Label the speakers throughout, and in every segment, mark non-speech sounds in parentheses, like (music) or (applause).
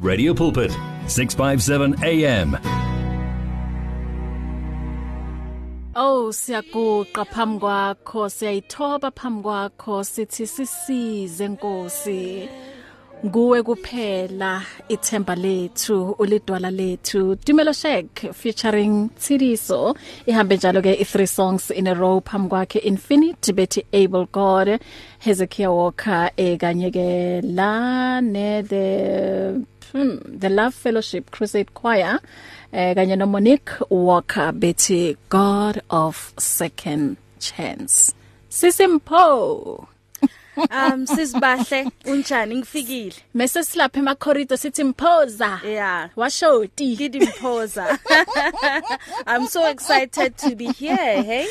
Speaker 1: Radio Pulpit, 657 AM.
Speaker 2: Oh siyaguqa phambi kwakho siyayithoba phambi kwakho sithi sisize Nkosi nguwe kuphela ithemba lethu ulidwala lethu Dumelo Shek featuring Tsiriso ihambe njalo ke i3 songs in a row phambi kwakhe Infinity bethi Able God Hezekiah Walker ekanye ke la ne the hmm, the Love Fellowship Crusade Choir eh kanye no Monique Walker bethi God of Second Chance Sisimpo
Speaker 3: Um sisibahle unjani ngifikile.
Speaker 2: Mase silapha ema corridor sithi mphoza
Speaker 3: Yeah.
Speaker 2: washoti
Speaker 3: Gidimphoza. (laughs) I'm so excited to be here, hey?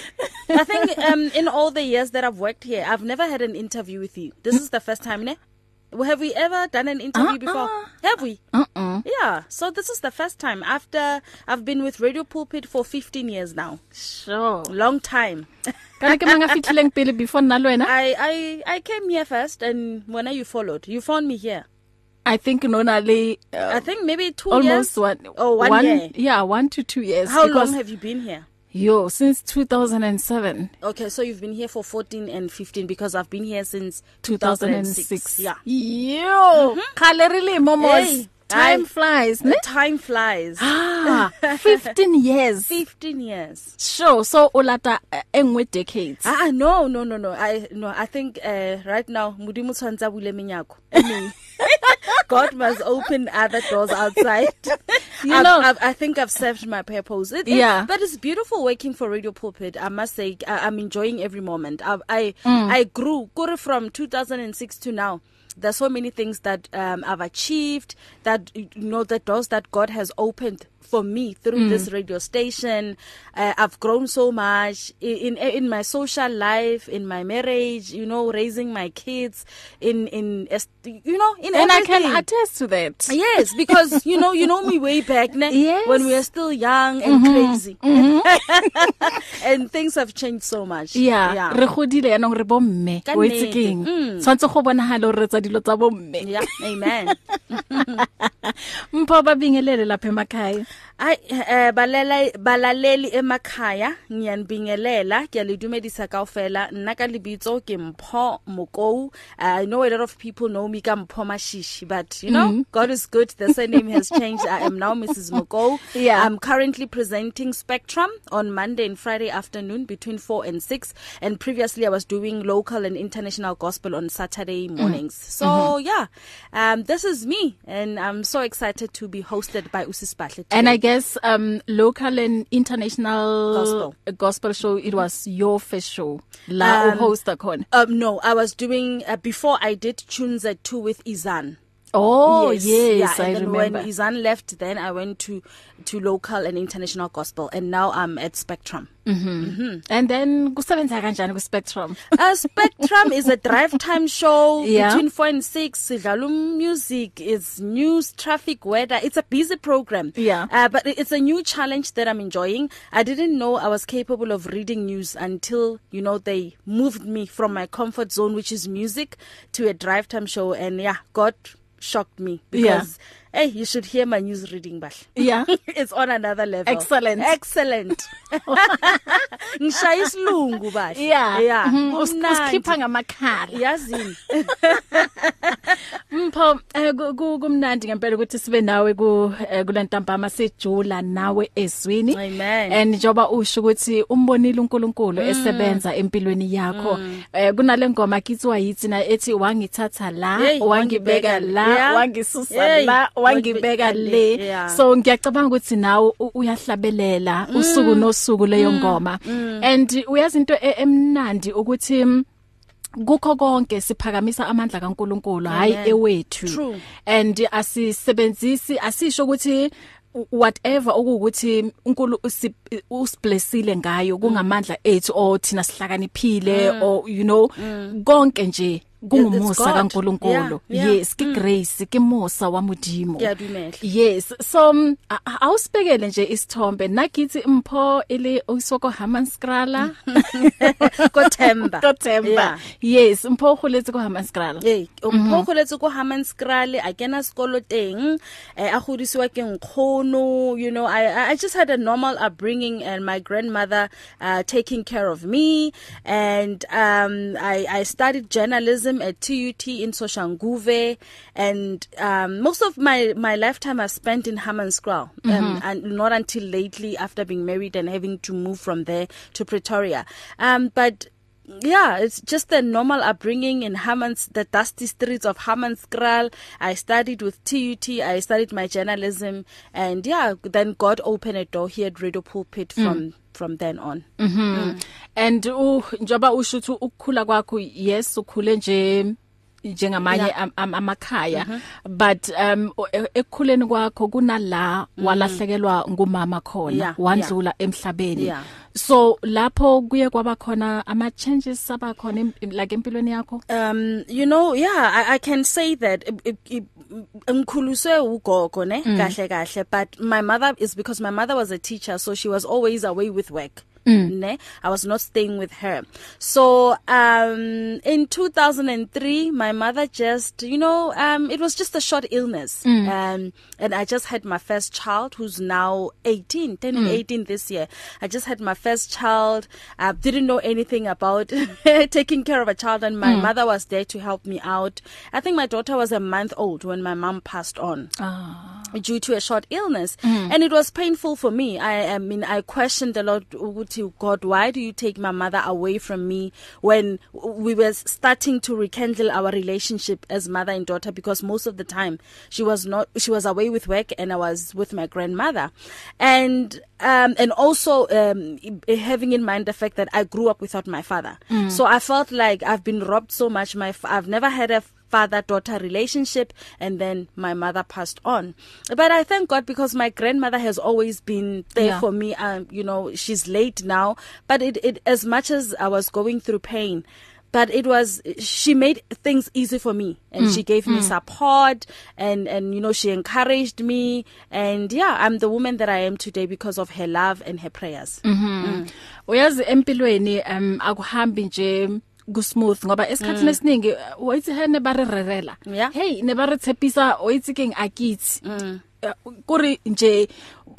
Speaker 3: I think um in all the years that I've worked here, I've never had an interview with you. This is the first time, ne? Well, Have we ever done an interview uh -uh. before? Have we?
Speaker 2: uh-uh
Speaker 3: Yeah. So this is the first time after I've been with Radio Pulpit for 15 years now.
Speaker 2: sure
Speaker 3: Long time.
Speaker 2: kana ke manga fitlile ngibili before nalo wena
Speaker 3: I I I came here first and when you followed, you found me here.
Speaker 2: i think nona le
Speaker 3: I
Speaker 2: uh,
Speaker 3: think maybe 2
Speaker 2: almost
Speaker 3: years.
Speaker 2: one
Speaker 3: Oh, one year.
Speaker 2: yeah 1 to 2 years
Speaker 3: How
Speaker 2: because
Speaker 3: long have you been here?
Speaker 2: yo since 2007
Speaker 3: Okay, so you've been here for 14 and 15 because I've been here since 2006.
Speaker 2: 2006
Speaker 3: Yeah. Mm-hmm.
Speaker 2: yo khale rile momos
Speaker 3: Hey,
Speaker 2: time
Speaker 3: aye.
Speaker 2: flies ne
Speaker 3: Time flies. (laughs)
Speaker 2: ah 15 years
Speaker 3: 15 years.
Speaker 2: sure so ulata uh, engwe decades
Speaker 3: Ah ah, no no no no. I no I think uh, right now Modimo tshwantsa bule menyako. I
Speaker 2: (laughs)
Speaker 3: mean God must open other doors outside.
Speaker 2: You
Speaker 3: I've,
Speaker 2: know-
Speaker 3: I've, I think I've served my purpose. It, it,
Speaker 2: Yeah.
Speaker 3: But it's beautiful working for Radio Pulpit. I must say I, I'm enjoying every moment. I I, mm. I grew kore from 2006 to now. There's so many things that um, I've achieved that you know the doors that God has opened for me through mm. this radio station. Uh, I've grown so much in, in in my social life, in my marriage, you know, raising my kids in in est- you know, in
Speaker 2: and i
Speaker 3: everything. Ah,
Speaker 2: can attest to that
Speaker 3: Yes, because you know, you know me way back ne?
Speaker 2: Yes.
Speaker 3: when we are still young and mm-hmm. crazy, mm-hmm. (laughs) and things have changed so much.
Speaker 2: yeah
Speaker 3: yeah,
Speaker 2: re godile ya nong re bomme
Speaker 3: Ka
Speaker 2: o
Speaker 3: nnete,
Speaker 2: etsekeng
Speaker 3: mm.
Speaker 2: tshwantse go bonagala o retsa dilo tsa bomme
Speaker 3: yeah. Amen.
Speaker 2: mpho ba bingelele lapha emakhaya
Speaker 3: Ai eh balela balaleli emakhaya ngiyanibingelela ngiyalidumedisa kaofela nna ka libitso ke Mpho Mokou I know a lot of people know me ka Mpho Mashishi but you know mm -hmm. God is good the surname has changed I am now Mrs Mokou
Speaker 2: Yeah.
Speaker 3: I'm currently presenting Spectrum on Monday and Friday afternoon between 4 and 6 and previously I was doing local and international gospel on Saturday mornings mm -hmm. so mm -hmm. yeah um this is me and I'm so excited to be hosted by Usisibahle
Speaker 2: and i guess um local and international
Speaker 3: Gospel. Mm-hmm.
Speaker 2: uh, gospel show it was your first show la um,
Speaker 3: Um,
Speaker 2: hosta khona
Speaker 3: Um no, I was doing uh, before I did tunes at 2 with Izan.
Speaker 2: oh yes, yes
Speaker 3: yeah,
Speaker 2: i
Speaker 3: and then
Speaker 2: remember
Speaker 3: when Izan left then I went to to local and international gospel and now I'm at Spectrum.
Speaker 2: and then kusebenza kanjani ku
Speaker 3: (laughs)
Speaker 2: spectrum
Speaker 3: uh, Spectrum is a drive time show
Speaker 2: Yeah.
Speaker 3: between 4 and 6 sidlala music it's news traffic weather it's a busy program
Speaker 2: Yeah.
Speaker 3: uh, but it- it's a new challenge that I'm enjoying I didn't know I was capable of reading news until you know they moved me from my comfort zone which is music to a drive time show and yeah God shocked me because yeah. hey you should hear my news reading bahle
Speaker 2: yeah
Speaker 3: (laughs) it's on another level
Speaker 2: Excellent.
Speaker 3: excellent (laughs) ngishaya isilungu bahle
Speaker 2: yeah
Speaker 3: yeah
Speaker 2: Mhm. Us-
Speaker 3: Kumnandi.
Speaker 2: usikhipha ngamakhala
Speaker 3: yazini
Speaker 2: Mpho eh, ku- ku- kumnandi ngempela ukuthi sibe nawe ku eh, kulentambama sejula nawe ezwini.
Speaker 3: Amen. Mm.
Speaker 2: And njoba usho ukuthi umbonile uNkulunkulu esebenza empilweni yakho. Eh kunale ngoma kithiwa yithi na ethi wangithatha la,
Speaker 3: Hey,
Speaker 2: wangibeka
Speaker 3: wangibeka
Speaker 2: la,
Speaker 3: la.
Speaker 2: wangisusa
Speaker 3: Hey,
Speaker 2: la, wangibeka
Speaker 3: wangibeka le.
Speaker 2: le.
Speaker 3: Yeah.
Speaker 2: So ngiyacabanga ukuthi nawe u- uyahlabelela usuku
Speaker 3: Mm.
Speaker 2: nosuku leyo ngoma. And uyazi into e- emnandi ukuthi mm, kukho konke siphakamisa amandla kaNkuluNkulu hayi
Speaker 3: Amen.
Speaker 2: ewethu
Speaker 3: True.
Speaker 2: and asisebenzisi asisho ukuthi u- whatever okuwukuthi uNkulu usi- usiblessile
Speaker 3: Mm.
Speaker 2: oh,
Speaker 3: Mm.
Speaker 2: ngayo kungamandla ethu or thina sihlakaniphile or you know oh, konke nje kungumusa kaNkuluNkulu
Speaker 3: Yeah, Mm. yeah.
Speaker 2: yes ke grace ke musa wa Modimo
Speaker 3: Ke a dumela.
Speaker 2: yes so mm, a- a- awusibekele nje isithombe nakithi mpho ele usoko Hammanskrala
Speaker 3: kothemba
Speaker 2: (laughs) kothemba
Speaker 3: Yeah.
Speaker 2: yes mpho khuletse ko Hammanskrala
Speaker 3: Hey, umpho kholetse go Hammanskraal a kena sekolo teng eh, a godisiwa ke nkgono you know I- I I just had a normal upbringing and my grandmother uh taking care of me and um I I studied journalism at TUT in Soshanguve and um most of my my lifetime I spent in Hammanskraal um, and not until lately after being married and having to move from there to Pretoria um but yeah, it's just the normal upbringing in Hammond's, the dusty streets of Hammondskral. I studied with TUT, I studied my journalism, and yeah, then God opened a door here at Radio Pulpit from mm. from then on. Mm.
Speaker 2: and u njoba usho ukuthi ukukhula kwakho yes ukhule nje njengamanye am- am- amakhaya
Speaker 3: Mm-hmm.
Speaker 2: but um u- e- ekukhuleni kwakho kunala walahlekelwa ngumama
Speaker 3: Mm. Yeah,
Speaker 2: khona
Speaker 3: yeah.
Speaker 2: wandlula emhlabeni
Speaker 3: Yeah.
Speaker 2: so lapho kuye kwaba khona ama changes abakhona em- em- like empilweni yakho
Speaker 3: Um, you know, yeah, I, I can say that I- I- I- ngikhuliswe ugogo ne kahle kahle but my mother is because my mother was a teacher so she was always away with work. Mm. Ne? I was not staying with her. So, um in 2003 my mother just, you know, um it was just a short illness. Mm. Um and I just had my first child who's now 18, turning mm. 18 this year. I just had my first child. I didn't know anything about (laughs) taking care of a child and my mm. mother was there to help me out. I think my daughter was a month old when my mom passed on.
Speaker 2: Ah.
Speaker 3: due to a short illness mm. and it was painful for me i i mean i questioned a lot ukuthi god why do you take my mother away from me when we were starting to rekindle our relationship as mother and daughter because most of the time she was not she was away with work and i was with my grandmother and um and also um i- having in mind the fact that i grew up without my father mm. so i felt like i've been robbed so much my f- i've never had a father daughter relationship and then my mother passed on but i thank god because my grandmother has always been there
Speaker 2: Yeah.
Speaker 3: yeah. for me um you know she's late now but it, it as much as i was going through pain but it was she made things easy for me and mm. she gave me mm. support and and you know she encouraged me and yeah i'm the woman that i am today because of her love and her prayers mm.
Speaker 2: uyazi empilweni um akuhambi nje ku smooth ngoba esikhathini esiningi uh, wathi hene ba re rerela
Speaker 3: Mm. Yeah. Mm.
Speaker 2: hey ne ba re tshepisa wathi king akithi Eh, kuri nje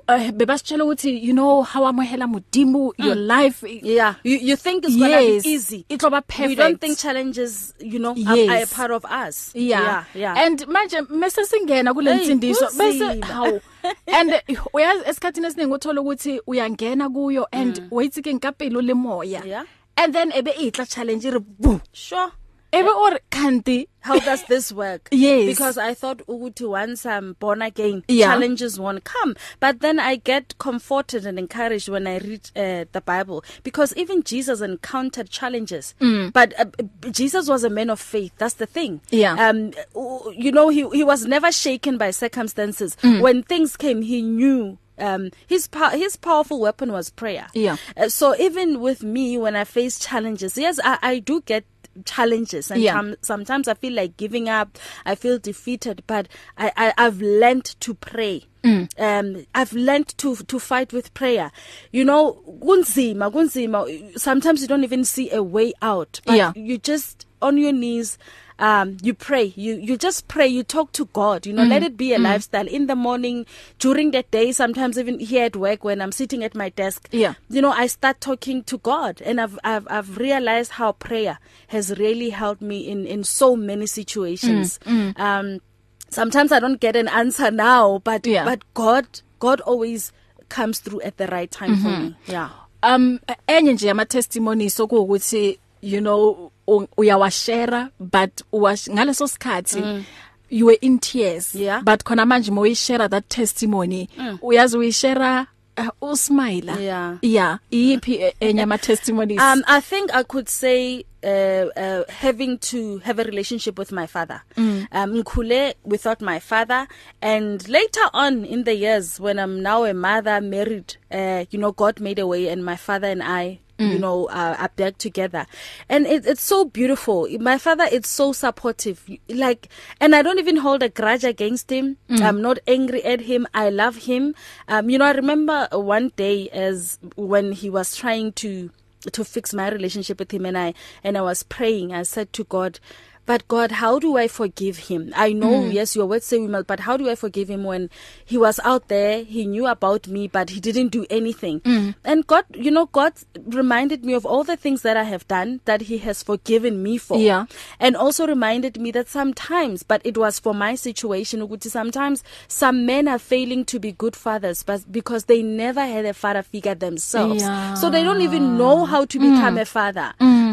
Speaker 2: eh, bebasitshela ukuthi you know how amohela mudimu your life i-
Speaker 3: Mm. yeah you you think it's going to
Speaker 2: yes
Speaker 3: be easy
Speaker 2: itloba perfect
Speaker 3: we don't think challenges you know yes. are, are a
Speaker 2: Yes.
Speaker 3: part of us
Speaker 2: yeah
Speaker 3: yeah, yeah.
Speaker 2: and manje mase singena kule
Speaker 3: Hey,
Speaker 2: nsindiso bese
Speaker 3: kunzima.
Speaker 2: how and eh, uyazi esikhatini esiningi uthola ukuthi uyangena kuyo and wathi ke ngikapilo le moya
Speaker 3: Mm. Yeah.
Speaker 2: and then ebe itla challenge ri bu
Speaker 3: sure
Speaker 2: ebe or kanti
Speaker 3: how does this work
Speaker 2: (laughs) Yes.
Speaker 3: because i thought ukuthi once i'm born again
Speaker 2: Yeah.
Speaker 3: challenges won't come but then i get comforted and encouraged when i read uh, the bible because even jesus encountered challenges mm. but uh, jesus was a man of faith that's the thing
Speaker 2: Yeah.
Speaker 3: um you know he he was never shaken by circumstances mm. when things came he knew um his pow- his powerful weapon was prayer
Speaker 2: Yeah.
Speaker 3: uh, so even with me when i face challenges yes i i do get challenges and
Speaker 2: Yeah.
Speaker 3: yeah. some, sometimes i feel like giving up i feel defeated but i, I i've learned to pray mm. um i've learned to to fight with prayer you know kunzima kunzima sometimes you don't even see a way out but
Speaker 2: Yeah.
Speaker 3: you just on your knees um you pray you you just pray you talk to god you know mm. let it be a mm. lifestyle in the morning during the day sometimes even here at work when i'm sitting at my desk
Speaker 2: Yeah.
Speaker 3: you know i start talking to god and i've i've i've realized how prayer has really helped me in in so many situations mm, mm. um sometimes i don't get an answer now but
Speaker 2: Yeah.
Speaker 3: but god god always comes through at the right time mm-hmm. for me yeah
Speaker 2: um enye nje ama testimonies okuwukuthi you know u- uyawashare but uwash- ngaleso sikhathi mm. you were in tears
Speaker 3: Yeah. Mm.
Speaker 2: but khona manje moyishare that testimony uyazi uyishare uh, usmile
Speaker 3: Yeah.
Speaker 2: yeah yipi enye ama testimonies
Speaker 3: Um I think I could say uh, uh having to have a relationship with my father. Mm. Um ngikhule without my father and later on in the years when I'm now a mother married uh you know God made a way and my father and I you know uh, are back together and it, it's so beautiful my father is so supportive like and i don't even hold a grudge against him i'm not angry at him i love him um you know i remember one day as when he was trying to to fix my relationship with him and I and I was praying I said to God but God how do I forgive him I know mm. yes your words say we must but how do I forgive him when he was out there he knew about me but he didn't do anything mm. and God you know God reminded me of all the things that I have done that he has forgiven me for
Speaker 2: Yeah.
Speaker 3: and also reminded me that sometimes but it was for my situation ukuthi sometimes some men are failing to be good fathers but because they never had a father figure themselves
Speaker 2: Yeah. Mm.
Speaker 3: so they don't even know how to become a father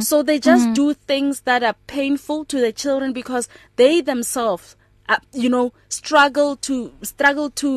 Speaker 3: so they just do things that are painful to the children because they themselves uh, you know struggle to struggle to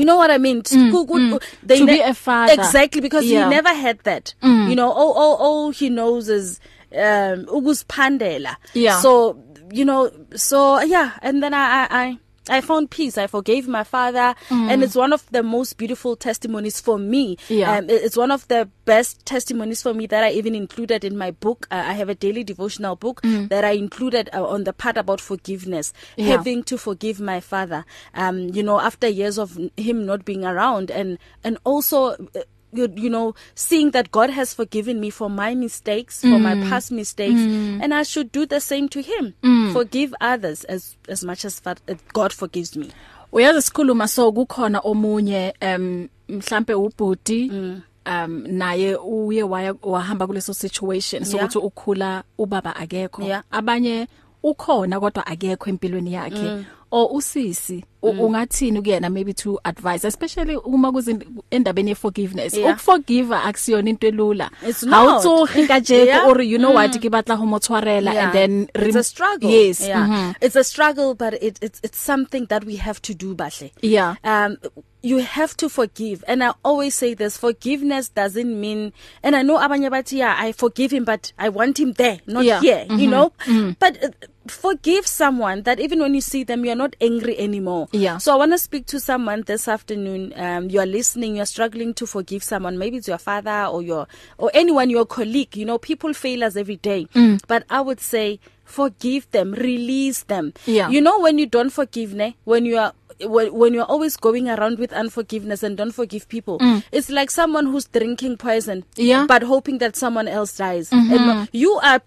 Speaker 3: you know what i mean mm, could, mm. they
Speaker 2: To be a father.
Speaker 3: exactly because
Speaker 2: Yeah.
Speaker 3: he never had that mm. you know all, all all he knows is um ukuziphandela
Speaker 2: Yeah.
Speaker 3: so you know so yeah and then i i, I I found peace. I forgave my father, mm. and it's one of the most beautiful testimonies for me.
Speaker 2: Yeah.
Speaker 3: Um, it- it's one of the best testimonies for me that I even included in my book. Uh, I have a daily devotional book mm. that I included uh, on the part about forgiveness,
Speaker 2: Yeah.
Speaker 3: having to forgive my father. Um, you know, after years of n- him not being around, and and also. Uh, you, you know seeing that god has forgiven me for my mistakes mm. for my past mistakes mm. and i should do the same to him mm. forgive others as as much as fa- as god forgives me
Speaker 2: uyazi sikhuluma so kukhona omunye um mhlambe ubhuti
Speaker 3: Mm.
Speaker 2: um naye uye waya wahamba kuleso situation sokuthi ukhula ubaba akekho
Speaker 3: Yeah.
Speaker 2: abanye ukhona kodwa akekho empilweni
Speaker 3: Mm.
Speaker 2: yakhe or usisi u- ungathini kuyena maybe to advise especially uma kuzi endabeni ye forgiveness
Speaker 3: Yeah.
Speaker 2: ukforgive akusiyona into elula
Speaker 3: It's not. (laughs)
Speaker 2: awutsohika nje
Speaker 3: Yeah. Mm.
Speaker 2: or you know what ke batla ho motshwarela and then
Speaker 3: it's
Speaker 2: rem-
Speaker 3: a struggle
Speaker 2: yes
Speaker 3: yeah
Speaker 2: mhm.
Speaker 3: it's a struggle but it it's it's something that we have to do bahle
Speaker 2: Yeah.
Speaker 3: um you have to forgive and i always say this forgiveness doesn't mean and i know abanye bathi yeah i forgive him but i want him there not
Speaker 2: Yeah. Mm-hmm.
Speaker 3: yeah. here mm -hmm. you know mm. but uh, forgive someone that even when you see them you're not angry anymore
Speaker 2: Yeah.
Speaker 3: so i want to speak to someone this afternoon um you are listening you're struggling to forgive someone maybe it's your father or your or anyone your colleague you know people fail us every day mm. but i would say forgive them release them
Speaker 2: Yeah.
Speaker 3: you know when you don't forgive ne when you are when, when you're always going around with unforgiveness and don't forgive people mm. it's like someone who's drinking poison
Speaker 2: Yeah.
Speaker 3: but hoping that someone else dies mm -hmm. and you are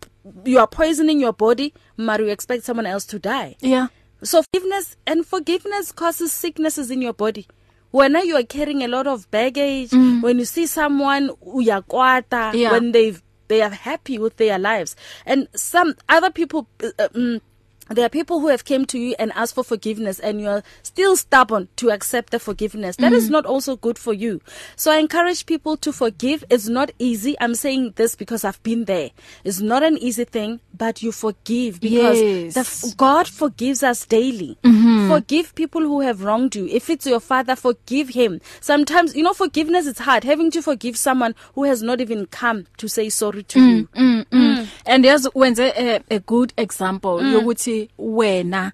Speaker 3: you are poisoning your body but you expect someone else to die
Speaker 2: Yeah.
Speaker 3: So forgiveness and forgiveness causes sicknesses in your body. When you are carrying a lot of baggage, mm. when you see someone uyakwata
Speaker 2: Yeah.
Speaker 3: when they've they are happy with their lives and some other people uh, um, there are people who have came to you and asked for forgiveness and you're still stubborn to accept the forgiveness that mm. is not also good for you so i encourage people to forgive it's not easy i'm saying this because i've been there it's not an easy thing but you forgive because
Speaker 2: Yes.
Speaker 3: the f- God forgives us daily. Mm-hmm. Forgive people who have wronged you. If it's your father, forgive him. Sometimes, you know, forgiveness is hard. Having to forgive someone who has not even come to say sorry to mm. you.
Speaker 2: Mm, mm. and yes wenze eh, a, a good example mm. yokuthi wena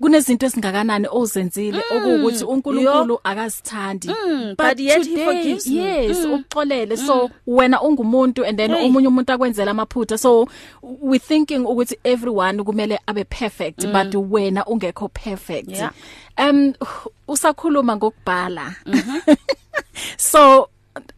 Speaker 2: kunezinto ezingakanani ozenzile mm. okuwukuthi uNkulunkulu akazithandi mm.
Speaker 3: but yet he forgives me.
Speaker 2: yes uxolele mm. so wena ungumuntu and then
Speaker 3: Hey.
Speaker 2: umunye umuntu akwenzela amaphutha so we thinking ukuthi everyone kumele abe perfect mm. but wena ungekho perfect
Speaker 3: Yeah.
Speaker 2: um usakhuluma ngokubhala mm -hmm. (laughs) so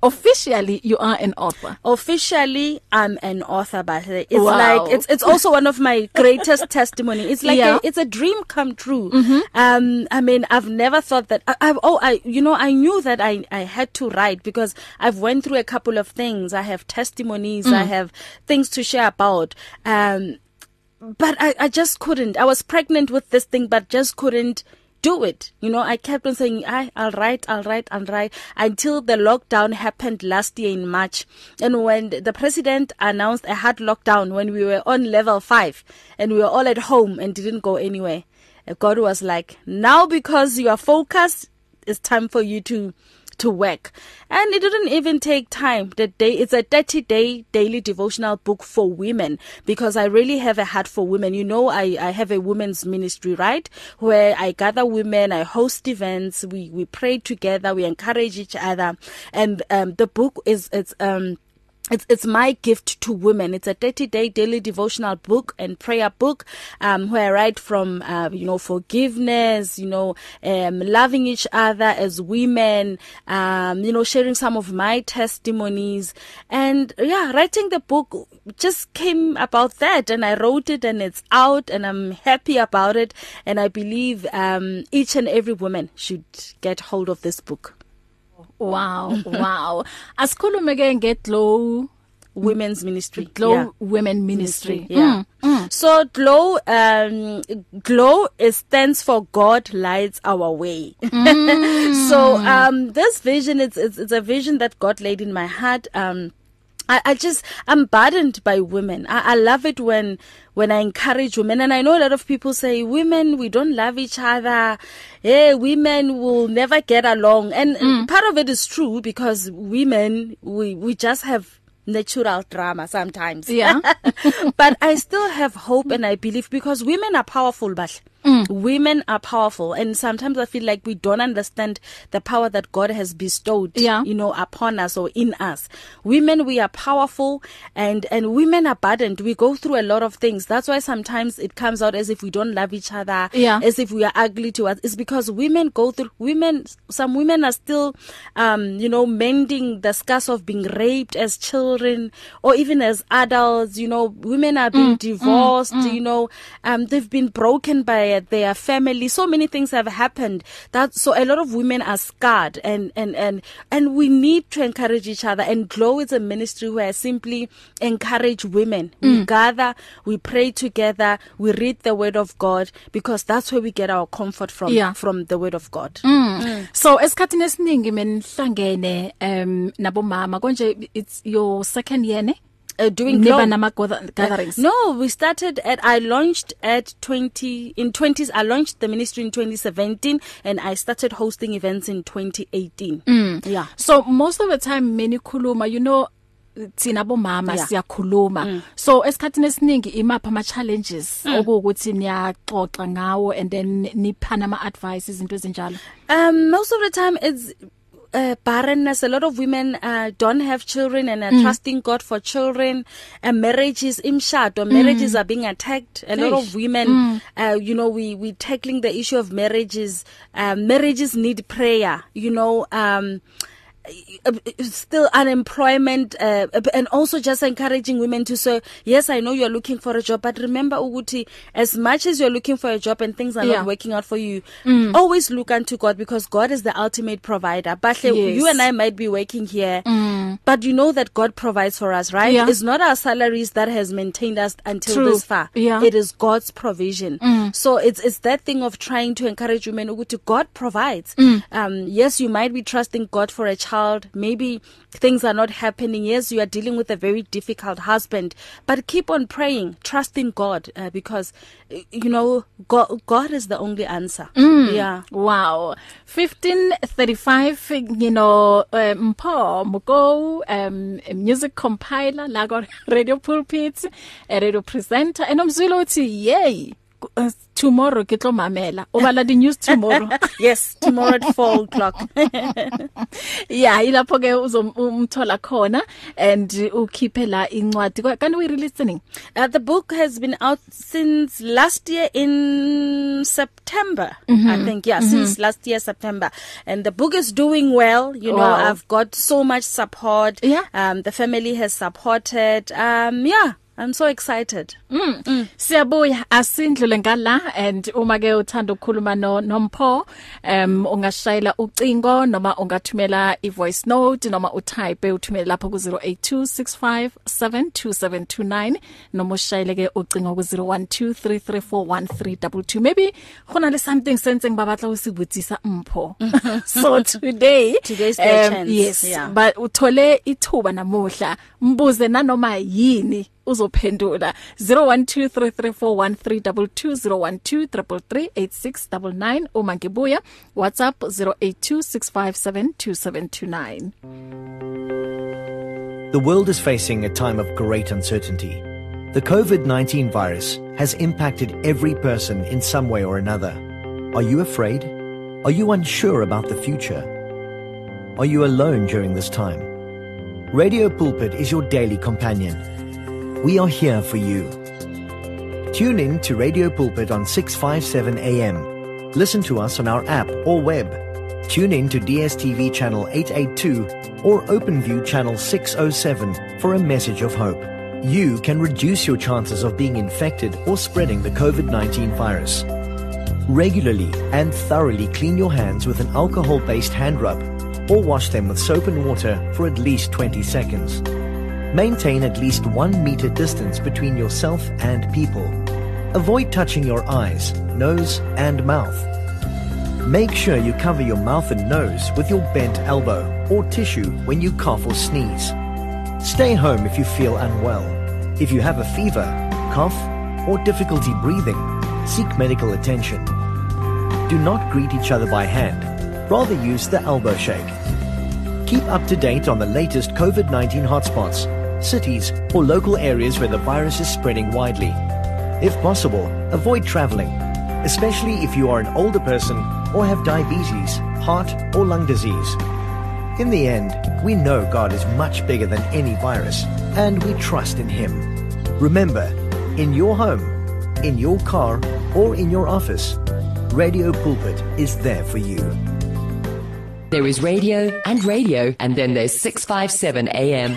Speaker 2: officially you are an author
Speaker 3: Officially, I'm an author, but it's
Speaker 2: Wow.
Speaker 3: wow. like it's it's also one of my (laughs) greatest testimony. It's like
Speaker 2: Yeah.
Speaker 3: yeah. a, it's a dream come true. Mm-hmm. Um, I mean, I've never thought that. I, I've oh, I you know, I knew that I I had to write because I've went through a couple of things. I have testimonies. Mm. I have things to share about. Um, but I, I just couldn't. I was pregnant with this thing, but just couldn't do it. You know, I kept on saying, I, I'll write, I'll write, I'll write until the lockdown happened last year in March. And when the president announced a hard lockdown when we were on level five and we were all at home and didn't go anywhere, God was like, now because you are focused, it's time for you to to work and it didn't even take time the day it's a 30 day daily devotional book for women because i really have a heart for women you know i i have a women's ministry right where i gather women i host events we we pray together we encourage each other and um the book is it's um It's, it's my gift to women. It's a 30 day daily devotional book and prayer book, um, where I write from, uh, you know, forgiveness, you know, um, loving each other as women, um, you know, sharing some of my testimonies. And yeah, writing the book just came about that. And I wrote it and it's out and I'm happy about it. And I believe, um, each and every woman should get hold of this book.
Speaker 2: Wow, wow. Asikhulume ke ngeglow
Speaker 3: Women's Ministry.
Speaker 2: Glow
Speaker 3: Yeah.
Speaker 2: yeah. Women Ministry.
Speaker 3: ministry. Yeah. Mm, mm. So glow um glow is stands for God lights our way. Mm. (laughs) so um this vision it's, it's it's a vision that God laid in my heart um I, I just I'm burdened by women. I, I love it when when I encourage women and I know a lot of people say women we don't love each other. Hey, women will never get along. And mm. part of it is true because women we we just have natural drama sometimes. (laughs)
Speaker 2: Yeah.
Speaker 3: but I still have hope and I believe because women are powerful, but mm. women are powerful. And sometimes I feel like we don't understand the power that God has bestowed,
Speaker 2: Yeah.
Speaker 3: you know, upon us or in us. Women, we are powerful and, and women are burdened. We go through a lot of things. That's why sometimes it comes out as if we don't love each other,
Speaker 2: Yeah.
Speaker 3: as if we are ugly to us. It's because women go through, women, some women are still, um, you know, mending the scars of being raped as children or even as adults, you know, women are being divorced, you know, um, they've been broken by their family. So many things have happened that, so a lot of women are scarred and, and, and, and we need to encourage each other and glow is a ministry where I simply encourage women.
Speaker 2: Mm.
Speaker 3: We gather, we pray together, we read the word of God because that's where we get our comfort from,
Speaker 2: Yeah. Mm.
Speaker 3: from the word of God. Mm.
Speaker 2: So esikhatini esiningi menihlangene um nabomama konje it's your second year ne
Speaker 3: Uh, doing
Speaker 2: niba
Speaker 3: glow.
Speaker 2: nama gather- gatherings.
Speaker 3: No, we started at I launched at 20 in 20s I launched the ministry in 2017 and I started hosting events in 2018. Mm. Yeah.
Speaker 2: So most of the time menikhuluma you know sina bomama
Speaker 3: Yeah. Mm.
Speaker 2: siyakhuluma so esikhatini esiningi imapha ama challenges okuwukuthi niyaxoxa ngawo and then niphana ama advice izinto ezinjalo
Speaker 3: Um most of the time it's uh, barrenness a lot of women uh, don't have children and are mm. trusting God for children and marriages imshado marriages mm. are being attacked a lot of
Speaker 2: Eish.
Speaker 3: women mm. uh, you know we we tackling the issue of marriages uh, marriages need prayer you know um uh, still unemployment uh, and also just encouraging women to say yes i know you're looking for a job but remember ukuthi as much as you're looking for a job and things are yeah.
Speaker 2: Yeah.
Speaker 3: not working out for you mm. always look unto god because god is the ultimate provider but yes.
Speaker 2: Yes.
Speaker 3: you and i might be working here mm. but you know that god provides for us right
Speaker 2: Yeah.
Speaker 3: it's not our salaries that has maintained us until
Speaker 2: True.
Speaker 3: this far
Speaker 2: Yeah.
Speaker 3: it is god's provision mm. so it's it's that thing of trying to encourage women ukuthi god provides mm. um yes you might be trusting god for a child maybe things are not happening yes you are dealing with a very difficult husband but keep on praying trusting god uh, because uh, you know god, god is the only answer mm. yeah
Speaker 2: Wow. 1535 you know um Paul Mugo um a music compiler la ko radio pulpit a radio presenter and umzwile uthi yay uh, tomorrow ke tlo mamela obala the news tomorrow
Speaker 3: yes tomorrow at 4 (laughs) o'clock
Speaker 2: yeah ilapho ke uzomthola khona and ukhiphe la incwadi Kwa- kanti we releasing
Speaker 3: Uh, the book has been out since last year in September, mm-hmm. I think. Yeah, mm-hmm. since last year September, and the book is doing well. You know,
Speaker 2: Wow.
Speaker 3: I've got so much support.
Speaker 2: Yeah.
Speaker 3: um, the family has supported. Um, yeah, I'm so excited.
Speaker 2: Siyabuya asindlule ngala and uma ke uthanda ukukhuluma no Nompho um ungashayela ucingo noma ungathumela ivoice note noma utype uthumele lapha ku 0826572729 noma ushayele ke ucingo ku 0123341322 maybe khona le something sense ngibabatla usibutsisa
Speaker 3: (laughs)
Speaker 2: Mpho so today
Speaker 3: Today's their chance,
Speaker 2: yes
Speaker 3: yeah.
Speaker 2: but uthole ithuba namuhla mbuze nanoma yini uzophendula 01233413220123338699 uma ngibuya WhatsApp 0826572729
Speaker 4: The world is facing a time of great uncertainty. The COVID 19 virus has impacted every person in some way or another. Are you afraid? Are you unsure about the future? Are you alone during this time? Radio Pulpit is your daily companion. We are here for you. Tune in to Radio Pulpit on 657 AM. Listen to us on our app or web. Tune in to DSTV channel 882 or OpenView channel 607 for a message of hope. You can reduce your chances of being infected or spreading the COVID 19 virus. Regularly and thoroughly clean your hands with an alcohol based hand rub or wash them with soap and water for at least 20 seconds. Maintain at least one meter distance between yourself and people. Avoid touching your eyes, nose, and mouth. Make sure you cover your mouth and nose with your bent elbow or tissue when you cough or sneeze. Stay home if you feel unwell. If you have a fever, cough, or difficulty breathing, seek medical attention. Do not greet each other by hand, rather, use the elbow shake. Keep up to date on the latest COVID 19 hotspots, cities, or local areas where the virus is spreading widely. If possible, avoid traveling, especially if you are an older person or have diabetes, heart, or lung disease. In the end, we know God is much bigger than any virus, and we trust in Him. Remember, in your home, in your car, or in your office, Radio Pulpit is there for you.
Speaker 5: There is radio and radio, and then there's 657 AM.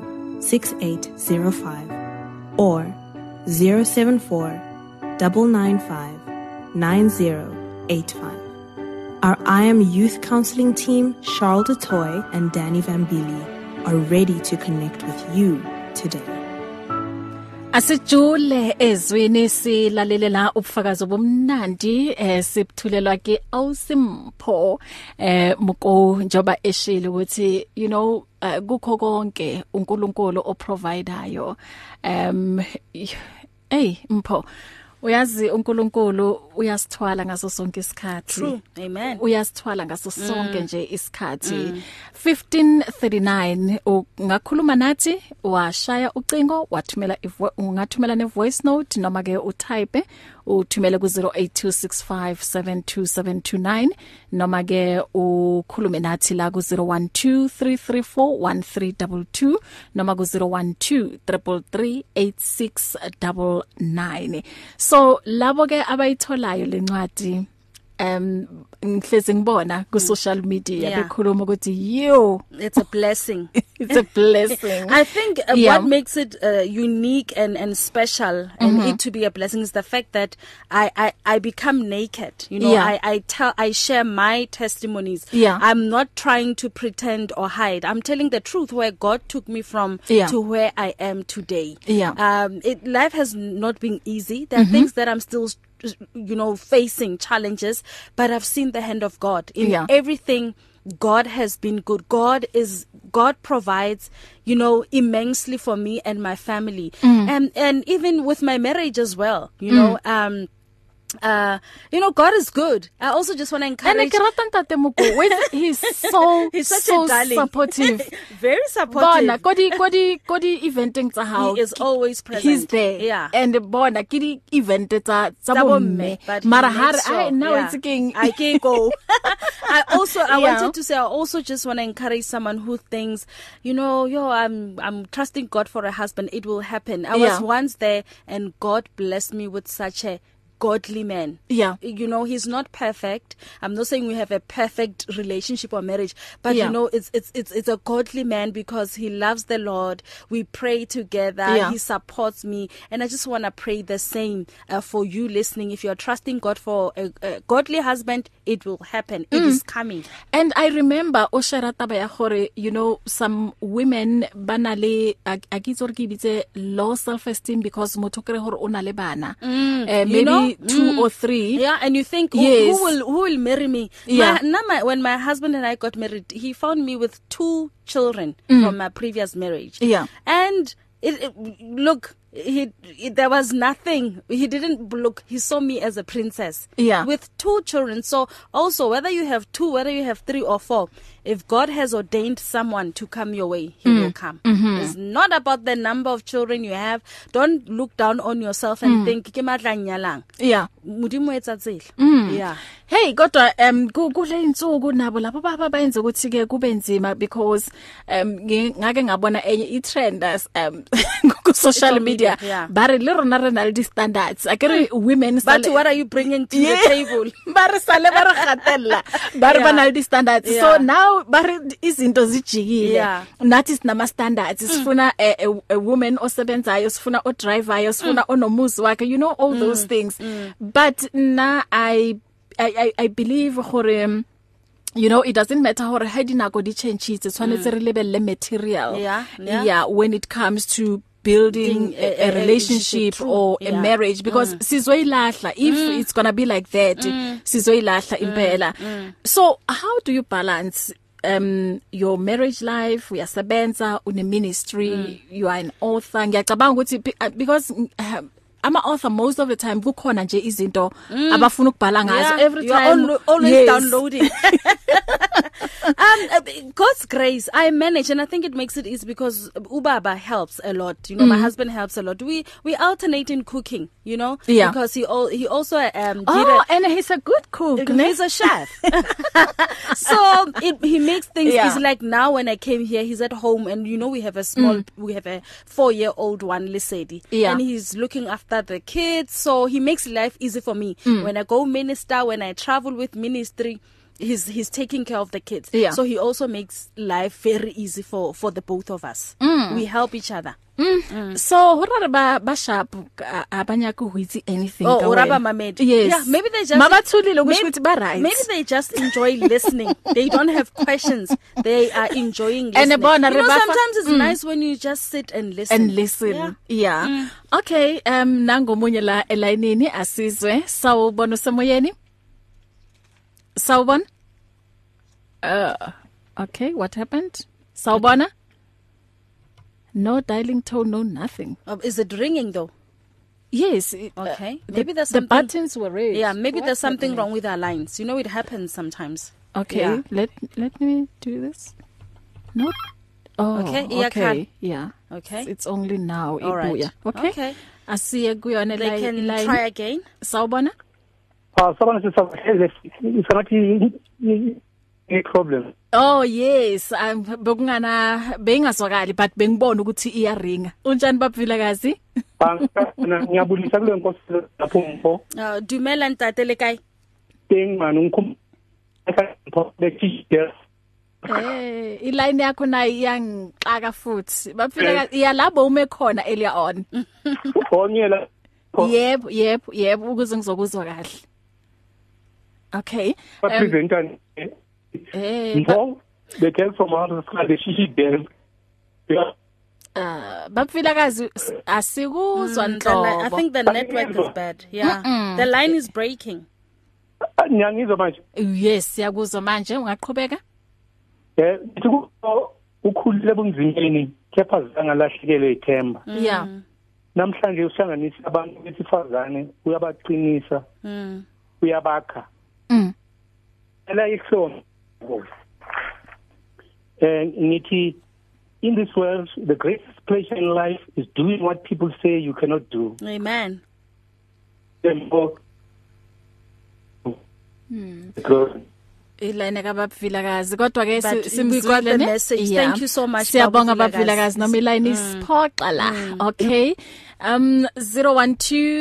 Speaker 6: 6805 or 074 995 9085. Our I Am Youth Counseling team, Charles DeToy and Danny Vambili, are ready to connect with you today.
Speaker 2: Asijule ezwini silalele la ubufakazi obumnandi eh sibuthulelwa ke awusimpho eh muko njoba eshilo ukuthi you know eh, kukho konke uNkulunkulu oprovidayo um hey mpho uyazi uNkulunkulu uyasithwala ngaso sonke isikhathi
Speaker 3: True. Amen.
Speaker 2: uyasithwala ngaso sonke nje isikhathi 1539 ungakhuluma nathi washaya ucingo wathumela ivo- ungathumela ne voice note noma ke utype uthumele ku 0826572729 noma ke ukhulume nathi la ku 0123341322 noma ku 0123338699 so labo ke abayitholayo lencwadi um ngihlezi ngibona ku social media
Speaker 3: Mm. Yeah.
Speaker 2: bekhuluma ukuthi yo
Speaker 3: It's a blessing.
Speaker 2: it's a blessing
Speaker 3: (laughs) I think uh,
Speaker 2: Yeah.
Speaker 3: what makes it uh, unique and and special
Speaker 2: Mm-hmm.
Speaker 3: and it to be a blessing is the fact that I I, I become naked. You know,
Speaker 2: Yeah.
Speaker 3: I I tell I share my testimonies.
Speaker 2: Yeah.
Speaker 3: I'm not trying to pretend or hide. I'm telling the truth where God took me from
Speaker 2: Yeah.
Speaker 3: to where I am today.
Speaker 2: Yeah. Mm-hmm.
Speaker 3: Um it life has not been easy. There are things that I'm still you know facing challenges, but I've seen the hand of God in
Speaker 2: Yeah.
Speaker 3: everything god has been good god is god provides you know immensely for me and my family
Speaker 2: Mm.
Speaker 3: and and even with my marriage as well you know
Speaker 2: Mm.
Speaker 3: um uh you know god is good i also just want to
Speaker 2: and
Speaker 3: (laughs) encourage
Speaker 2: ke rata ntate Moko with he's so
Speaker 3: (laughs) He's such
Speaker 2: so
Speaker 3: a darling. (laughs)
Speaker 2: supportive
Speaker 3: very supportive
Speaker 2: bona kodi kodi kodi eventeng tsa hao
Speaker 3: He is always present.
Speaker 2: he's there
Speaker 3: Yeah.
Speaker 2: and bona ke di event tsa tsa
Speaker 3: Tsa
Speaker 2: bomme
Speaker 3: but
Speaker 2: mara
Speaker 3: he
Speaker 2: ha re
Speaker 3: makes sure,
Speaker 2: ai now
Speaker 3: yeah.
Speaker 2: it's king (laughs)
Speaker 3: I can't go. I also I
Speaker 2: Yeah.
Speaker 3: wanted to say I also just want to encourage someone who thinks, you know, yo, I'm I'm trusting God for a husband. It will happen. I
Speaker 2: Yeah.
Speaker 3: was once there, and God blessed me with such a godly man.
Speaker 2: Yeah.
Speaker 3: You know, he's not perfect. I'm not saying we have a perfect relationship or marriage, but
Speaker 2: Yeah.
Speaker 3: you know, it's it's it's it's a godly man because he loves the Lord. We pray together.
Speaker 2: Yeah.
Speaker 3: He supports me and i just want to pray the same uh, for you listening if you're trusting god for a, a godly husband it will happen it is coming
Speaker 2: And I remember o share taba ya gore you know some women bana le a a ke itse gore ke bitse low self esteem because motho kere gore o na le bana. Mm, uh,
Speaker 3: you know, Mm.
Speaker 2: maybe 2 or 3
Speaker 3: Yeah, and you think "Oh, who,
Speaker 2: Yes.
Speaker 3: who will who will marry me?
Speaker 2: Yeah.
Speaker 3: My, now my, when my husband and I got married, he found me with two children from my previous marriage.
Speaker 2: Mm. Yeah.
Speaker 3: and it, it look. He, he there was nothing he didn't look he saw me as a princess
Speaker 2: Yeah.
Speaker 3: with two children so also whether you have two whether you have three or four if god has ordained someone to come your way he
Speaker 2: Mm.
Speaker 3: will come
Speaker 2: Mm-hmm.
Speaker 3: it's not about the number of children you have don't look down on yourself
Speaker 2: Mm.
Speaker 3: and think ke matla nyalang
Speaker 2: yeah
Speaker 3: modimo etsa
Speaker 2: Mm.
Speaker 3: tsela yeah
Speaker 2: Hey kodwa um ku- kule insuku nabo lapho baba bayenza ukuthi ke kube nzima because um ngi- ngake ngabona enye i trend as (laughs) um ku social
Speaker 3: Social
Speaker 2: media
Speaker 3: media, yeah. Mm.
Speaker 2: bare le rona re na le di standards akere women
Speaker 3: but
Speaker 2: sale-
Speaker 3: what are you bringing to
Speaker 2: Yeah.
Speaker 3: the table
Speaker 2: (laughs) bare sale bare gatella bare
Speaker 3: Yeah.
Speaker 2: bana le di standards so
Speaker 3: Yeah.
Speaker 2: now bare izinto zijikile
Speaker 3: Yeah. Mm.
Speaker 2: nathi sina ma standards sifuna a, a, a woman osebenzayo sifuna o
Speaker 3: Mm.
Speaker 2: driver sifuna onomuzi wakhe you know all mm. those things mm. but na i i i, I believe gore um, you know it doesn't matter how hard dinako di changes tshwanetse re lebelle material
Speaker 3: Mm. Yeah, yeah.
Speaker 2: yeah when it comes to building
Speaker 3: Being
Speaker 2: a, a relationship
Speaker 3: true,
Speaker 2: or a
Speaker 3: yeah.
Speaker 2: marriage because
Speaker 3: Mm.
Speaker 2: sizoyilahla if it's going to be like that sizoyilahla
Speaker 3: Mm.
Speaker 2: impela so how do you balance um your marriage life uyasebenza une
Speaker 3: Mm.
Speaker 2: ministry you are an author ngiyacabanga ukuthi be- uh, because uh, ama author most of the time kukhona nje izinto abafuna ukubhala ngazo
Speaker 3: Mm. Yeah,
Speaker 2: every
Speaker 3: you are
Speaker 2: time
Speaker 3: alwa- always
Speaker 2: Yes.
Speaker 3: downloading
Speaker 2: (laughs)
Speaker 3: um uh, god's grace i manage and i think it makes it easy because ubaba helps a lot you know mm. my husband helps a lot we we alternate in cooking you know
Speaker 2: Yeah.
Speaker 3: because he all he also um did a,
Speaker 2: Oh, and he's a good cook. ne?
Speaker 3: He's a chef. (laughs) so it, he makes things
Speaker 2: Yeah.
Speaker 3: yeah. easy. Like now, when I came here, he's at home, and you know we have a small, mm. we have a four-year-old one, Lisedi,
Speaker 2: Yeah.
Speaker 3: and he's looking after the kids. So he makes life easy for me. Mm. When I go minister, when I travel with ministry. He's he's taking care of the kids,
Speaker 2: Yeah.
Speaker 3: so he also makes life very easy for for the both of us. Mm. We help each other. Mm-hmm.
Speaker 2: so horara ba ba sharp uh, ka- abanya ku huitsi anything
Speaker 3: Oh,
Speaker 2: ka
Speaker 3: or
Speaker 2: wena.
Speaker 3: about my maid.
Speaker 2: yes
Speaker 3: Yeah, maybe they just
Speaker 2: mabathulile kusho
Speaker 3: Maybe-
Speaker 2: ukuthi ba right
Speaker 3: Maybe they just enjoy (laughs) listening. They don't have questions. They are enjoying
Speaker 2: And
Speaker 3: listening.
Speaker 2: bona
Speaker 3: you know,
Speaker 2: re ba fa-
Speaker 3: sometimes it's mm. nice when you just sit and listen.
Speaker 2: and listen yeah, yeah. Mm. okay um nangomunye la elayinini asizwe sawubona usemoyeni sawubona uh okay what happened sawubona no dialing tone no nothing
Speaker 3: Yeah. Uh, is it ringing though?
Speaker 2: yes it,
Speaker 3: Okay.
Speaker 2: the,
Speaker 3: Maybe there's
Speaker 2: the
Speaker 3: something-
Speaker 2: buttons were red
Speaker 3: Yeah, maybe
Speaker 2: What's
Speaker 3: there's something
Speaker 2: happening?
Speaker 3: wrong with our lines. You know, it happens sometimes.
Speaker 2: Okay, yeah.
Speaker 3: Yeah.
Speaker 2: let let me do this. No. Oh,
Speaker 3: Okay,
Speaker 2: okay.
Speaker 3: yeah,
Speaker 2: Okay. Yeah.
Speaker 3: Okay.
Speaker 2: It's, it's only now
Speaker 3: All right.
Speaker 2: ibuya. Okay.
Speaker 3: Okay.
Speaker 2: Asiye kuyona
Speaker 3: They
Speaker 2: la
Speaker 3: can
Speaker 2: line.
Speaker 3: try again.
Speaker 2: Sawubona?
Speaker 7: Uh, someone says it's not a problem.
Speaker 2: Oh yes, I'm bekungana bengazwakali but bengibona ukuthi iyaringa. Unjani baphilakazi?
Speaker 7: Ang- ngiyabulisa kuleyo nkosi lapho ngipho
Speaker 3: Uh, dumela ntate le kae?
Speaker 7: teng man ngikhumbula bekhiye
Speaker 2: Eh, iline yakho nayo iyangixaka futhi. Baphilakazi iyalabo ume khona earlier on.
Speaker 7: onyela
Speaker 2: Yebo, yebo, yebo ukuze ngizokuzwa kahle. Okay. Um,
Speaker 7: presenter
Speaker 2: eh ba-
Speaker 7: ngipho the girl from out of the she girl yeah
Speaker 2: Ah, bapfilakazi s- asikuzwa
Speaker 3: The li- Mm, I
Speaker 2: nhlobo
Speaker 3: think the network is bad. Yeah. Mm-mm. The line is breaking.
Speaker 7: ngiyangizwa manje
Speaker 2: yes siyakuzwa manje ungaqhubeka
Speaker 7: eh ngithi ku- ukhulile bunzimeni kepha zanga lahlekelwe ithemba
Speaker 3: Mm.
Speaker 2: yeah
Speaker 7: namhlanje uhlanganisa abantu besifazane uyabaqinisa
Speaker 3: Mm.
Speaker 7: uyabakha
Speaker 2: Mm.
Speaker 7: ela ihlombe and Eh, ngithi in this world the greatest pleasure in life is doing what people say you cannot do
Speaker 3: Amen.
Speaker 7: therefore because
Speaker 2: iline kabapfilakazi kodwa ke
Speaker 3: But
Speaker 2: si-
Speaker 3: we've
Speaker 2: simzwile
Speaker 3: got the
Speaker 2: ne?
Speaker 3: message.
Speaker 2: Yeah.
Speaker 3: Thank you so much, Mm.
Speaker 2: siyabonga
Speaker 3: babuVilakazi.
Speaker 2: bapfilakazi noma iline isiphoqa la okay um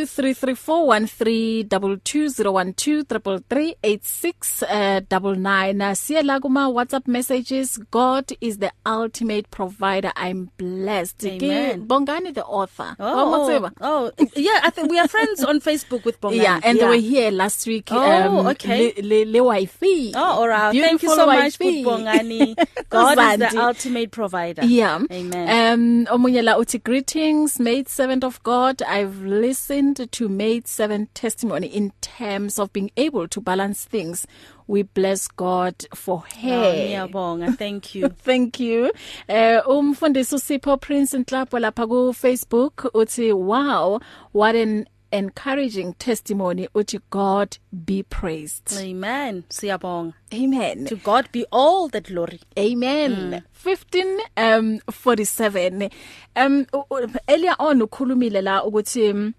Speaker 2: uh, 01233413220123338699 siyela kuma whatsapp messages god is the ultimate provider i'm blessed Ke
Speaker 3: Amen.
Speaker 2: bongani the author
Speaker 3: Oh,
Speaker 2: Wamotseba?
Speaker 3: oh, yeah. I think we are friends on Facebook with Bongani.
Speaker 2: Yeah, and yeah. they were here last week.
Speaker 3: Oh,
Speaker 2: um,
Speaker 3: okay.
Speaker 2: Le, le, le wifi.
Speaker 3: Oh, all right. Thank you
Speaker 2: Beautiful
Speaker 3: so much,
Speaker 2: wifi. (laughs)
Speaker 3: Bongani. God is
Speaker 2: Zandi.
Speaker 3: the ultimate provider.
Speaker 2: Yeah. Uh,
Speaker 3: Amen.
Speaker 2: Um omunye la uthi greetings made 7th of God, I've listened to Made 7 testimony in terms of being able to balance things. We bless God for her.
Speaker 3: Ngiyabonga. Oh, Thank you.
Speaker 2: Thank you. Eh uh, umfundisi Sipho Prince Nhlapo lapha ku Facebook uthi wow, what an encouraging testimony uthi God be praised.
Speaker 3: Amen. Siyabonga.
Speaker 2: Amen.
Speaker 3: To God be all the glory.
Speaker 2: Amen. 15 Mm. um 47. Um u- u- earlier on ukhulumile la ukuthi mm,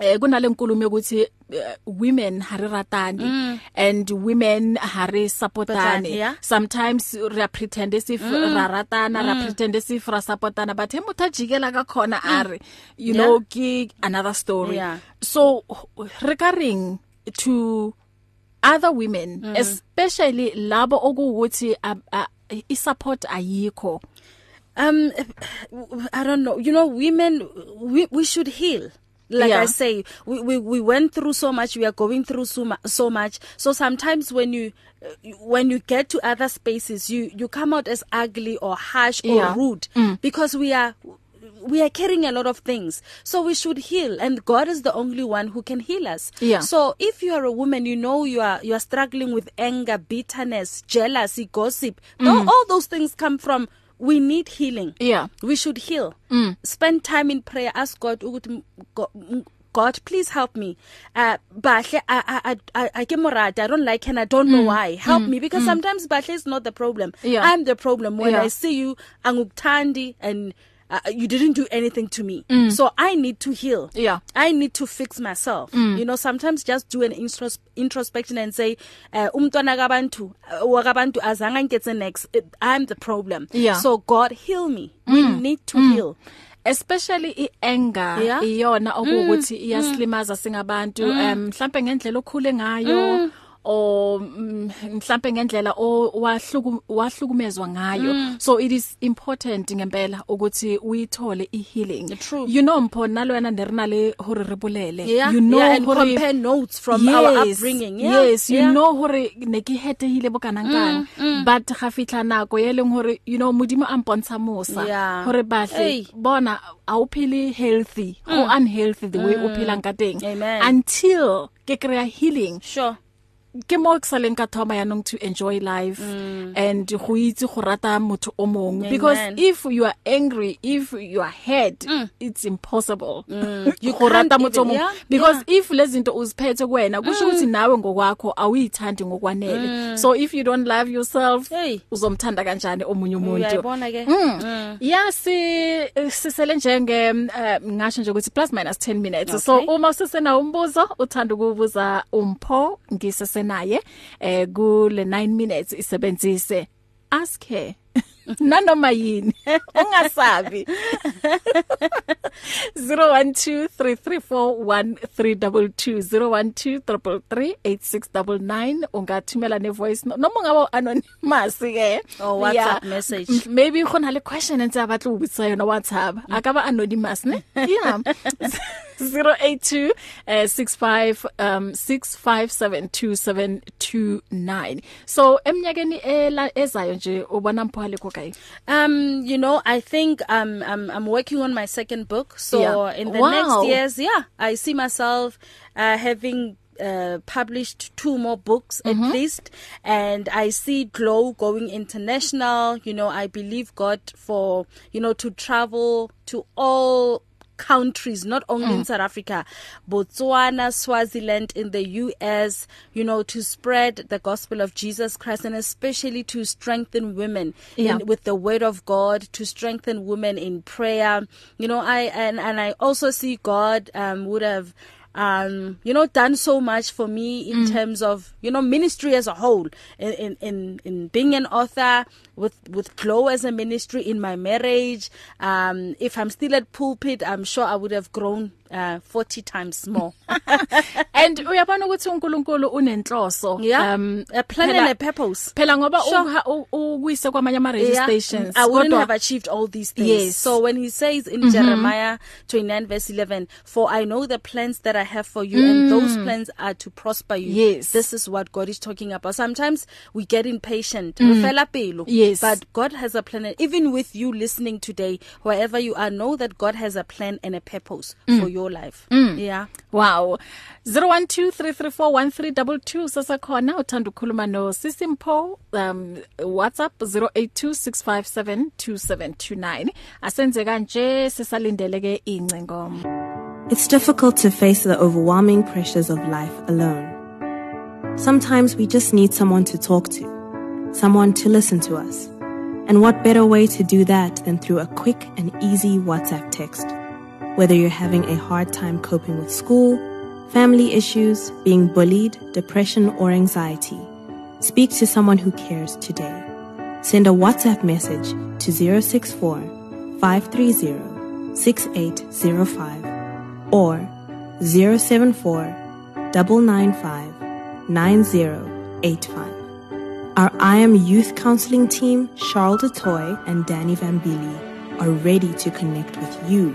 Speaker 2: eh kunale nkulumo ukuthi eh, women hari ratani mm. and women hari
Speaker 3: Supportane,
Speaker 2: supportani
Speaker 3: yeah.
Speaker 2: sometimes ra pretend as if mm. ra ratana mm. ra pretend as if ra supportana but hemutha jikela ka khona mm. are you
Speaker 3: Yeah.
Speaker 2: know gig another story
Speaker 3: Yeah.
Speaker 2: so regarding to other women
Speaker 3: Mm-hmm.
Speaker 2: mm. especially labo okuwuthi ab- a- i support ayikho
Speaker 3: um i don't know you know women we we should heal like
Speaker 2: Yeah.
Speaker 3: yeah. i say we, we we went through so much we are going through so, mu- so much so sometimes when you you- when you get to other spaces you you come out as ugly or harsh
Speaker 2: Yeah.
Speaker 3: or rude mm. because we are we are carrying a lot of things so we should heal and god is the only one who can heal us
Speaker 2: Yeah.
Speaker 3: so if you are a woman you know you are you are struggling with anger bitterness jealousy gossip mm. though all those things come from we need healing
Speaker 2: Yeah.
Speaker 3: we should heal mm. spend time in prayer ask god ukuthi m- Go- m- god please help me uh bahle i i i ke morata i don't like and i don't mm. know why help mm. me because mm. sometimes bahle is not the problem
Speaker 2: Yeah.
Speaker 3: i'm the problem when
Speaker 2: Yeah.
Speaker 3: i see you angikuthandi and uh, you didn't do anything to me mm. so i need to heal
Speaker 2: Yeah.
Speaker 3: i need to fix myself mm. you know sometimes just do an intros introspection and say uh, umntwana kabantu uh, wakabantu azange ngiketse next i'm the problem
Speaker 2: Yeah.
Speaker 3: so god heal me mm. we need to mm. heal
Speaker 2: especially ianger
Speaker 3: Yeah. Mm.
Speaker 2: iyona okuthi iyaslimaza singabantu um mhlambe ngendlela okhule ngayo or mm, mhlambe ngendlela owahluku wahlukumezwa
Speaker 3: Mm.
Speaker 2: ngayo so it is important ngempela ukuthi uyithole ihealing
Speaker 3: True.
Speaker 2: you know mphona lo wena nerina le hore re bulele
Speaker 3: Yeah,
Speaker 2: you know
Speaker 3: yeah, and
Speaker 2: hore
Speaker 3: compare notes from
Speaker 2: yes,
Speaker 3: our upbringing. Yeah,
Speaker 2: yes you
Speaker 3: yeah. Mm,
Speaker 2: know hore ne ke hetehile bokanangkana but ga fitla nako ye leng hore you know modimo a mpontsha mosa
Speaker 3: Yeah.
Speaker 2: hore bahle
Speaker 3: Hey.
Speaker 2: bona a o phele healthy go mm. unhealthy the way mm. o phelang ka teng
Speaker 3: Amen.
Speaker 2: until ke kry healing
Speaker 3: sure
Speaker 2: ke mo ke saleng ka thoma ya nong to enjoy life mm. and go itse go rata motho o mong because
Speaker 3: Amen.
Speaker 2: if you are angry if you are hurt mm. it's impossible (laughs) mm.
Speaker 3: You
Speaker 2: go
Speaker 3: can't
Speaker 2: rata motho o
Speaker 3: even-
Speaker 2: mong
Speaker 3: yeah,
Speaker 2: because yeah. if lezinto uziphethe kuwena kusho ukuthi nawe ngokwakho awuyithandi ngokwanele mm. so if you don't love yourself
Speaker 3: Hey.
Speaker 2: uzomthanda kanjani omunye umuntu
Speaker 3: uyayibona ke Mm.
Speaker 2: Yasi sisele njenge eh, ngasho nje ukuthi plus minus 10 minutes. So
Speaker 3: Okay.
Speaker 2: uma usesena umbuzo uthanda ukubuza umpho ngisesenaye eh kule 9 minutes isebenzise ask her (laughs) nanoma yini (laughs) ungasabi 0123341322 0123338699 ungathumela ne voice no- noma ungaba anonymous ke
Speaker 3: Or Oh, WhatsApp message. Mm.
Speaker 2: M- maybe khona le question ntse abatla ubutsa yona WhatsApp akaba anonymous ne yeah (laughs) 082 eh, 65 um 65727229 so emnyakeni ela ezayo nje ubona mphale ko
Speaker 3: (laughs)
Speaker 2: kae
Speaker 3: Um, you know, I think um I'm I'm working on my second book. So
Speaker 2: Yeah.
Speaker 3: in the
Speaker 2: Wow.
Speaker 3: next years, yeah, I see myself uh having uh published two more books mm-hmm. at least and I see Glow going international. You know, I believe God for, you know, to travel to all countries not only mm. in South Africa Botswana Swaziland in the US you know to spread the gospel of Jesus Christ and especially to strengthen women
Speaker 2: Yeah.
Speaker 3: in, with the word of God to strengthen women in prayer you know I and and I also see God um would have um you know done so much for me in mm. terms of you know ministry as a whole in in in, in being an author with with glow as a ministry in my marriage um if i'm still at pulpit i'm sure i would have grown uh 40 times more
Speaker 2: and uyabona ukuthi uNkulunkulu unenhloso
Speaker 3: (laughs)
Speaker 2: um,
Speaker 3: Yeah. Um, A plan and
Speaker 2: phela-
Speaker 3: a purpose.
Speaker 2: phela ngoba
Speaker 3: Sure.
Speaker 2: uha- u- ukwise kwamanye ama
Speaker 3: Yeah. mm,
Speaker 2: radio stations
Speaker 3: I wouldn't
Speaker 2: kodwa-
Speaker 3: have achieved all these things.
Speaker 2: Yes.
Speaker 3: So when he says in mm -hmm. Jeremiah 29 verse 11, "For I know the plans that I have for you mm. and those plans are to prosper you."
Speaker 2: Yes.
Speaker 3: This is what God is talking about. Sometimes we get impatient. Mm. Fela pelo.
Speaker 2: Yes.
Speaker 3: But God has a plan and even with you listening today, wherever you are, know that God has a plan and a purpose mm. for your life. Mm. Yeah.
Speaker 2: Wow 0123341322 sasakhona uthanda ukukhuluma no Sisimpho um WhatsApp 0826572729 asenze kanje sisalindele ke incingo
Speaker 6: It's difficult to face the overwhelming pressures of life alone. Sometimes we just need someone to talk to, someone to listen to us. And what better way to do that than through a quick and easy WhatsApp text? Whether you're having a hard time coping with school, family issues, being bullied, depression, or anxiety, speak to someone who cares today. Send a WhatsApp message to 064 530 6805 or 074 995 9085. Our I Am Youth Counseling team, Charles DeToy and Danny Vambili, are ready to connect with you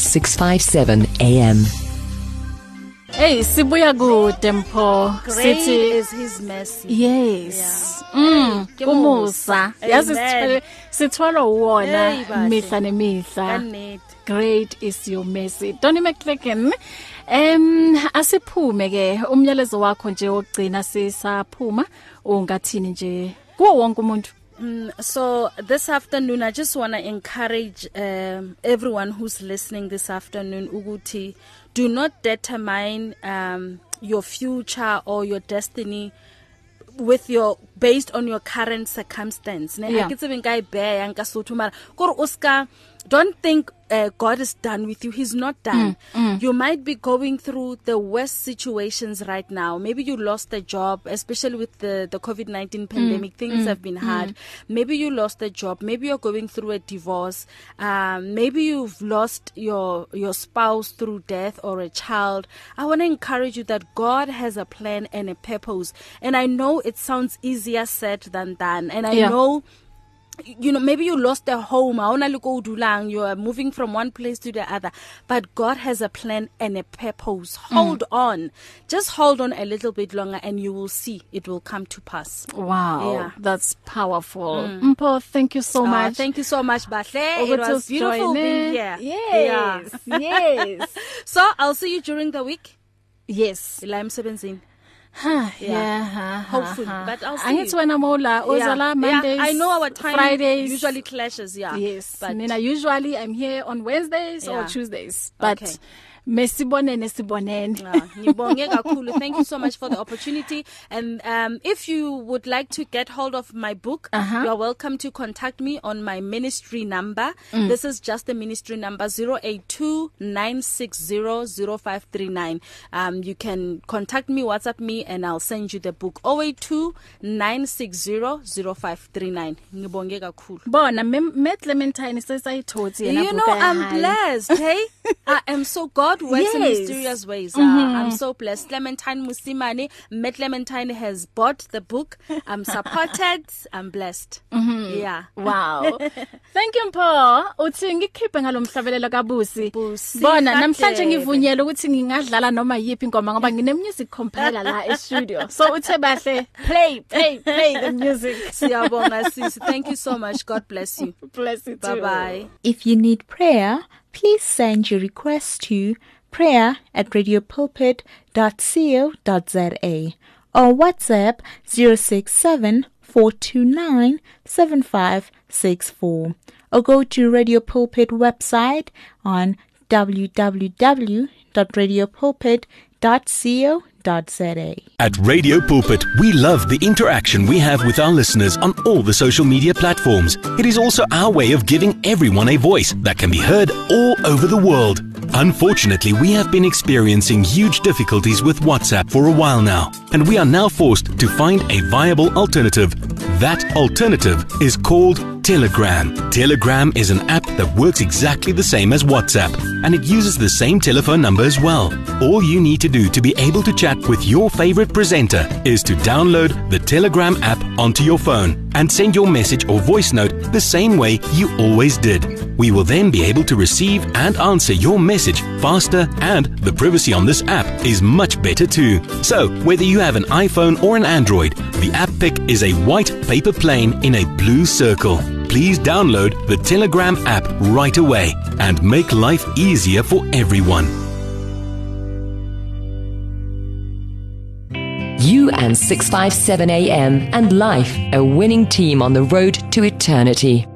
Speaker 5: 657 AM.
Speaker 2: Hey sibuya kude mpho
Speaker 3: Great
Speaker 2: sithi
Speaker 3: is his mercy.
Speaker 2: Yes. Mm,
Speaker 3: Ke
Speaker 2: kumusa.
Speaker 3: musa.
Speaker 2: Yazi
Speaker 3: Amen.
Speaker 2: sithole- sithwala wona
Speaker 3: Hey, bahle.
Speaker 2: mihla nemihla.
Speaker 3: Annette.
Speaker 2: Great is your mercy. Donny McClacken. Em asiphume ke umyalezo wakho nje ogcina sisaphuma ungathini nje kuwo wonke umuntu.
Speaker 3: so this afternoon i just want to encourage um, everyone who's listening this afternoon ukuthi do not determine um, your future or your destiny with your based on your current circumstance ne
Speaker 2: Yeah.
Speaker 3: yeah. akitsebe nka ibeya yang ka sotho mara gore o ska don't think uh, god is done with you he's not done mm, mm. you might be going through the worst situations right now maybe you lost a job especially with the the covid-19 pandemic mm, things mm, have been hard mm. maybe you lost a job maybe you're going through a divorce um maybe you've lost your your spouse through death or a child i want to encourage you that god has a plan and a purpose and i know it sounds easier said than done and i
Speaker 2: Yeah.
Speaker 3: know you know maybe you lost a home awuna leko dulang you are moving from one place to the other but god has a plan and a purpose hold mm. on just hold on a little bit longer and you will see it will come to pass
Speaker 2: Wow.
Speaker 3: Yeah.
Speaker 2: That's powerful. Mm. Mpho, thank you so
Speaker 3: Ah,
Speaker 2: much.
Speaker 3: thank you so much bahle
Speaker 2: Ukuthi
Speaker 3: it was beautiful
Speaker 2: usijoyine.
Speaker 3: being here
Speaker 2: Yes.
Speaker 3: (laughs) yeah.
Speaker 2: Yeah. Yes.
Speaker 3: so i'll see you during the week
Speaker 2: yes.
Speaker 3: la emsebenzini
Speaker 2: yeah ha, ha,
Speaker 3: Hopefully,
Speaker 2: ha.
Speaker 3: but I'll see
Speaker 2: angithi
Speaker 3: you.
Speaker 2: wena mola
Speaker 3: Yeah.
Speaker 2: uzala mondays
Speaker 3: yeah. i know our time
Speaker 2: fridays
Speaker 3: usually clashes yeah
Speaker 2: yes
Speaker 3: but
Speaker 2: mina usually i'm here on wednesdays yeah. or
Speaker 3: Yeah.
Speaker 2: tuesdays but okay.
Speaker 3: Okay.
Speaker 2: mesibonene sibonene
Speaker 3: Ah, ngibonge kakhulu thank you so much for the opportunity and um if you would like to get hold of my book uh -huh. you are welcome to contact me on my ministry number mm. this is just the ministry number 0829600539 um you can contact me whatsapp me and i'll send you the book 0829600539 ngibonge kakhulu
Speaker 2: (laughs) bona met clementine sesayithotsi yena
Speaker 3: You know
Speaker 2: buka
Speaker 3: I'm
Speaker 2: yahayi. (laughs)
Speaker 3: blessed, hey? I am so God works yes. in
Speaker 2: Yes. Mm-hmm.
Speaker 3: mysterious ways. Mm -hmm. uh, I'm so blessed. Clementine Musimani, Met Clementine has bought the book. I'm supported. I'm blessed. Mm
Speaker 2: Mm-hmm.
Speaker 3: -hmm. Yeah. (laughs)
Speaker 2: wow thank you mpho uthi ngikhiphe ngalomhlabelelo kabusi
Speaker 3: Busi
Speaker 2: bona
Speaker 3: Kadebe.
Speaker 2: namhlanje ngivunyelwe ukuthi ngingadlala noma yipi ingoma ngoba ngine music compiler la e studio so uthe bahle play play play the music
Speaker 3: (laughs) Siyabonga sisi. Thank you so much. God bless you.
Speaker 2: bless you (laughs) too.
Speaker 3: Bye-bye.
Speaker 8: If you need prayer, please send your request to prayer at radiopulpit.co.za or WhatsApp 067 429 7564 or go to Radio Pulpit website on www www.radiopulpit.co.za.
Speaker 9: At Radio Pulpit, we love the interaction we have with our listeners on all the social media platforms. It is also our way of giving everyone a voice that can be heard all over the world. Unfortunately, we have been experiencing huge difficulties with WhatsApp for a while now, and we are now forced to find a viable alternative. That alternative is called Telegram. Telegram is an app that works exactly the same as WhatsApp, and it uses the same telephone number as well. All you need to do to be able to chat with your favorite presenter is to download the Telegram app onto your phone and send your message or voice note the same way you always did. We will then be able to receive and answer your message faster, and the privacy on this app is much better too. So, whether you have an iPhone or an Android, the app pic is a white paper plane in a blue circle. Please download the Telegram app right away and make life easier for everyone.
Speaker 5: You and 657 AM and Life, a winning team on the road to eternity.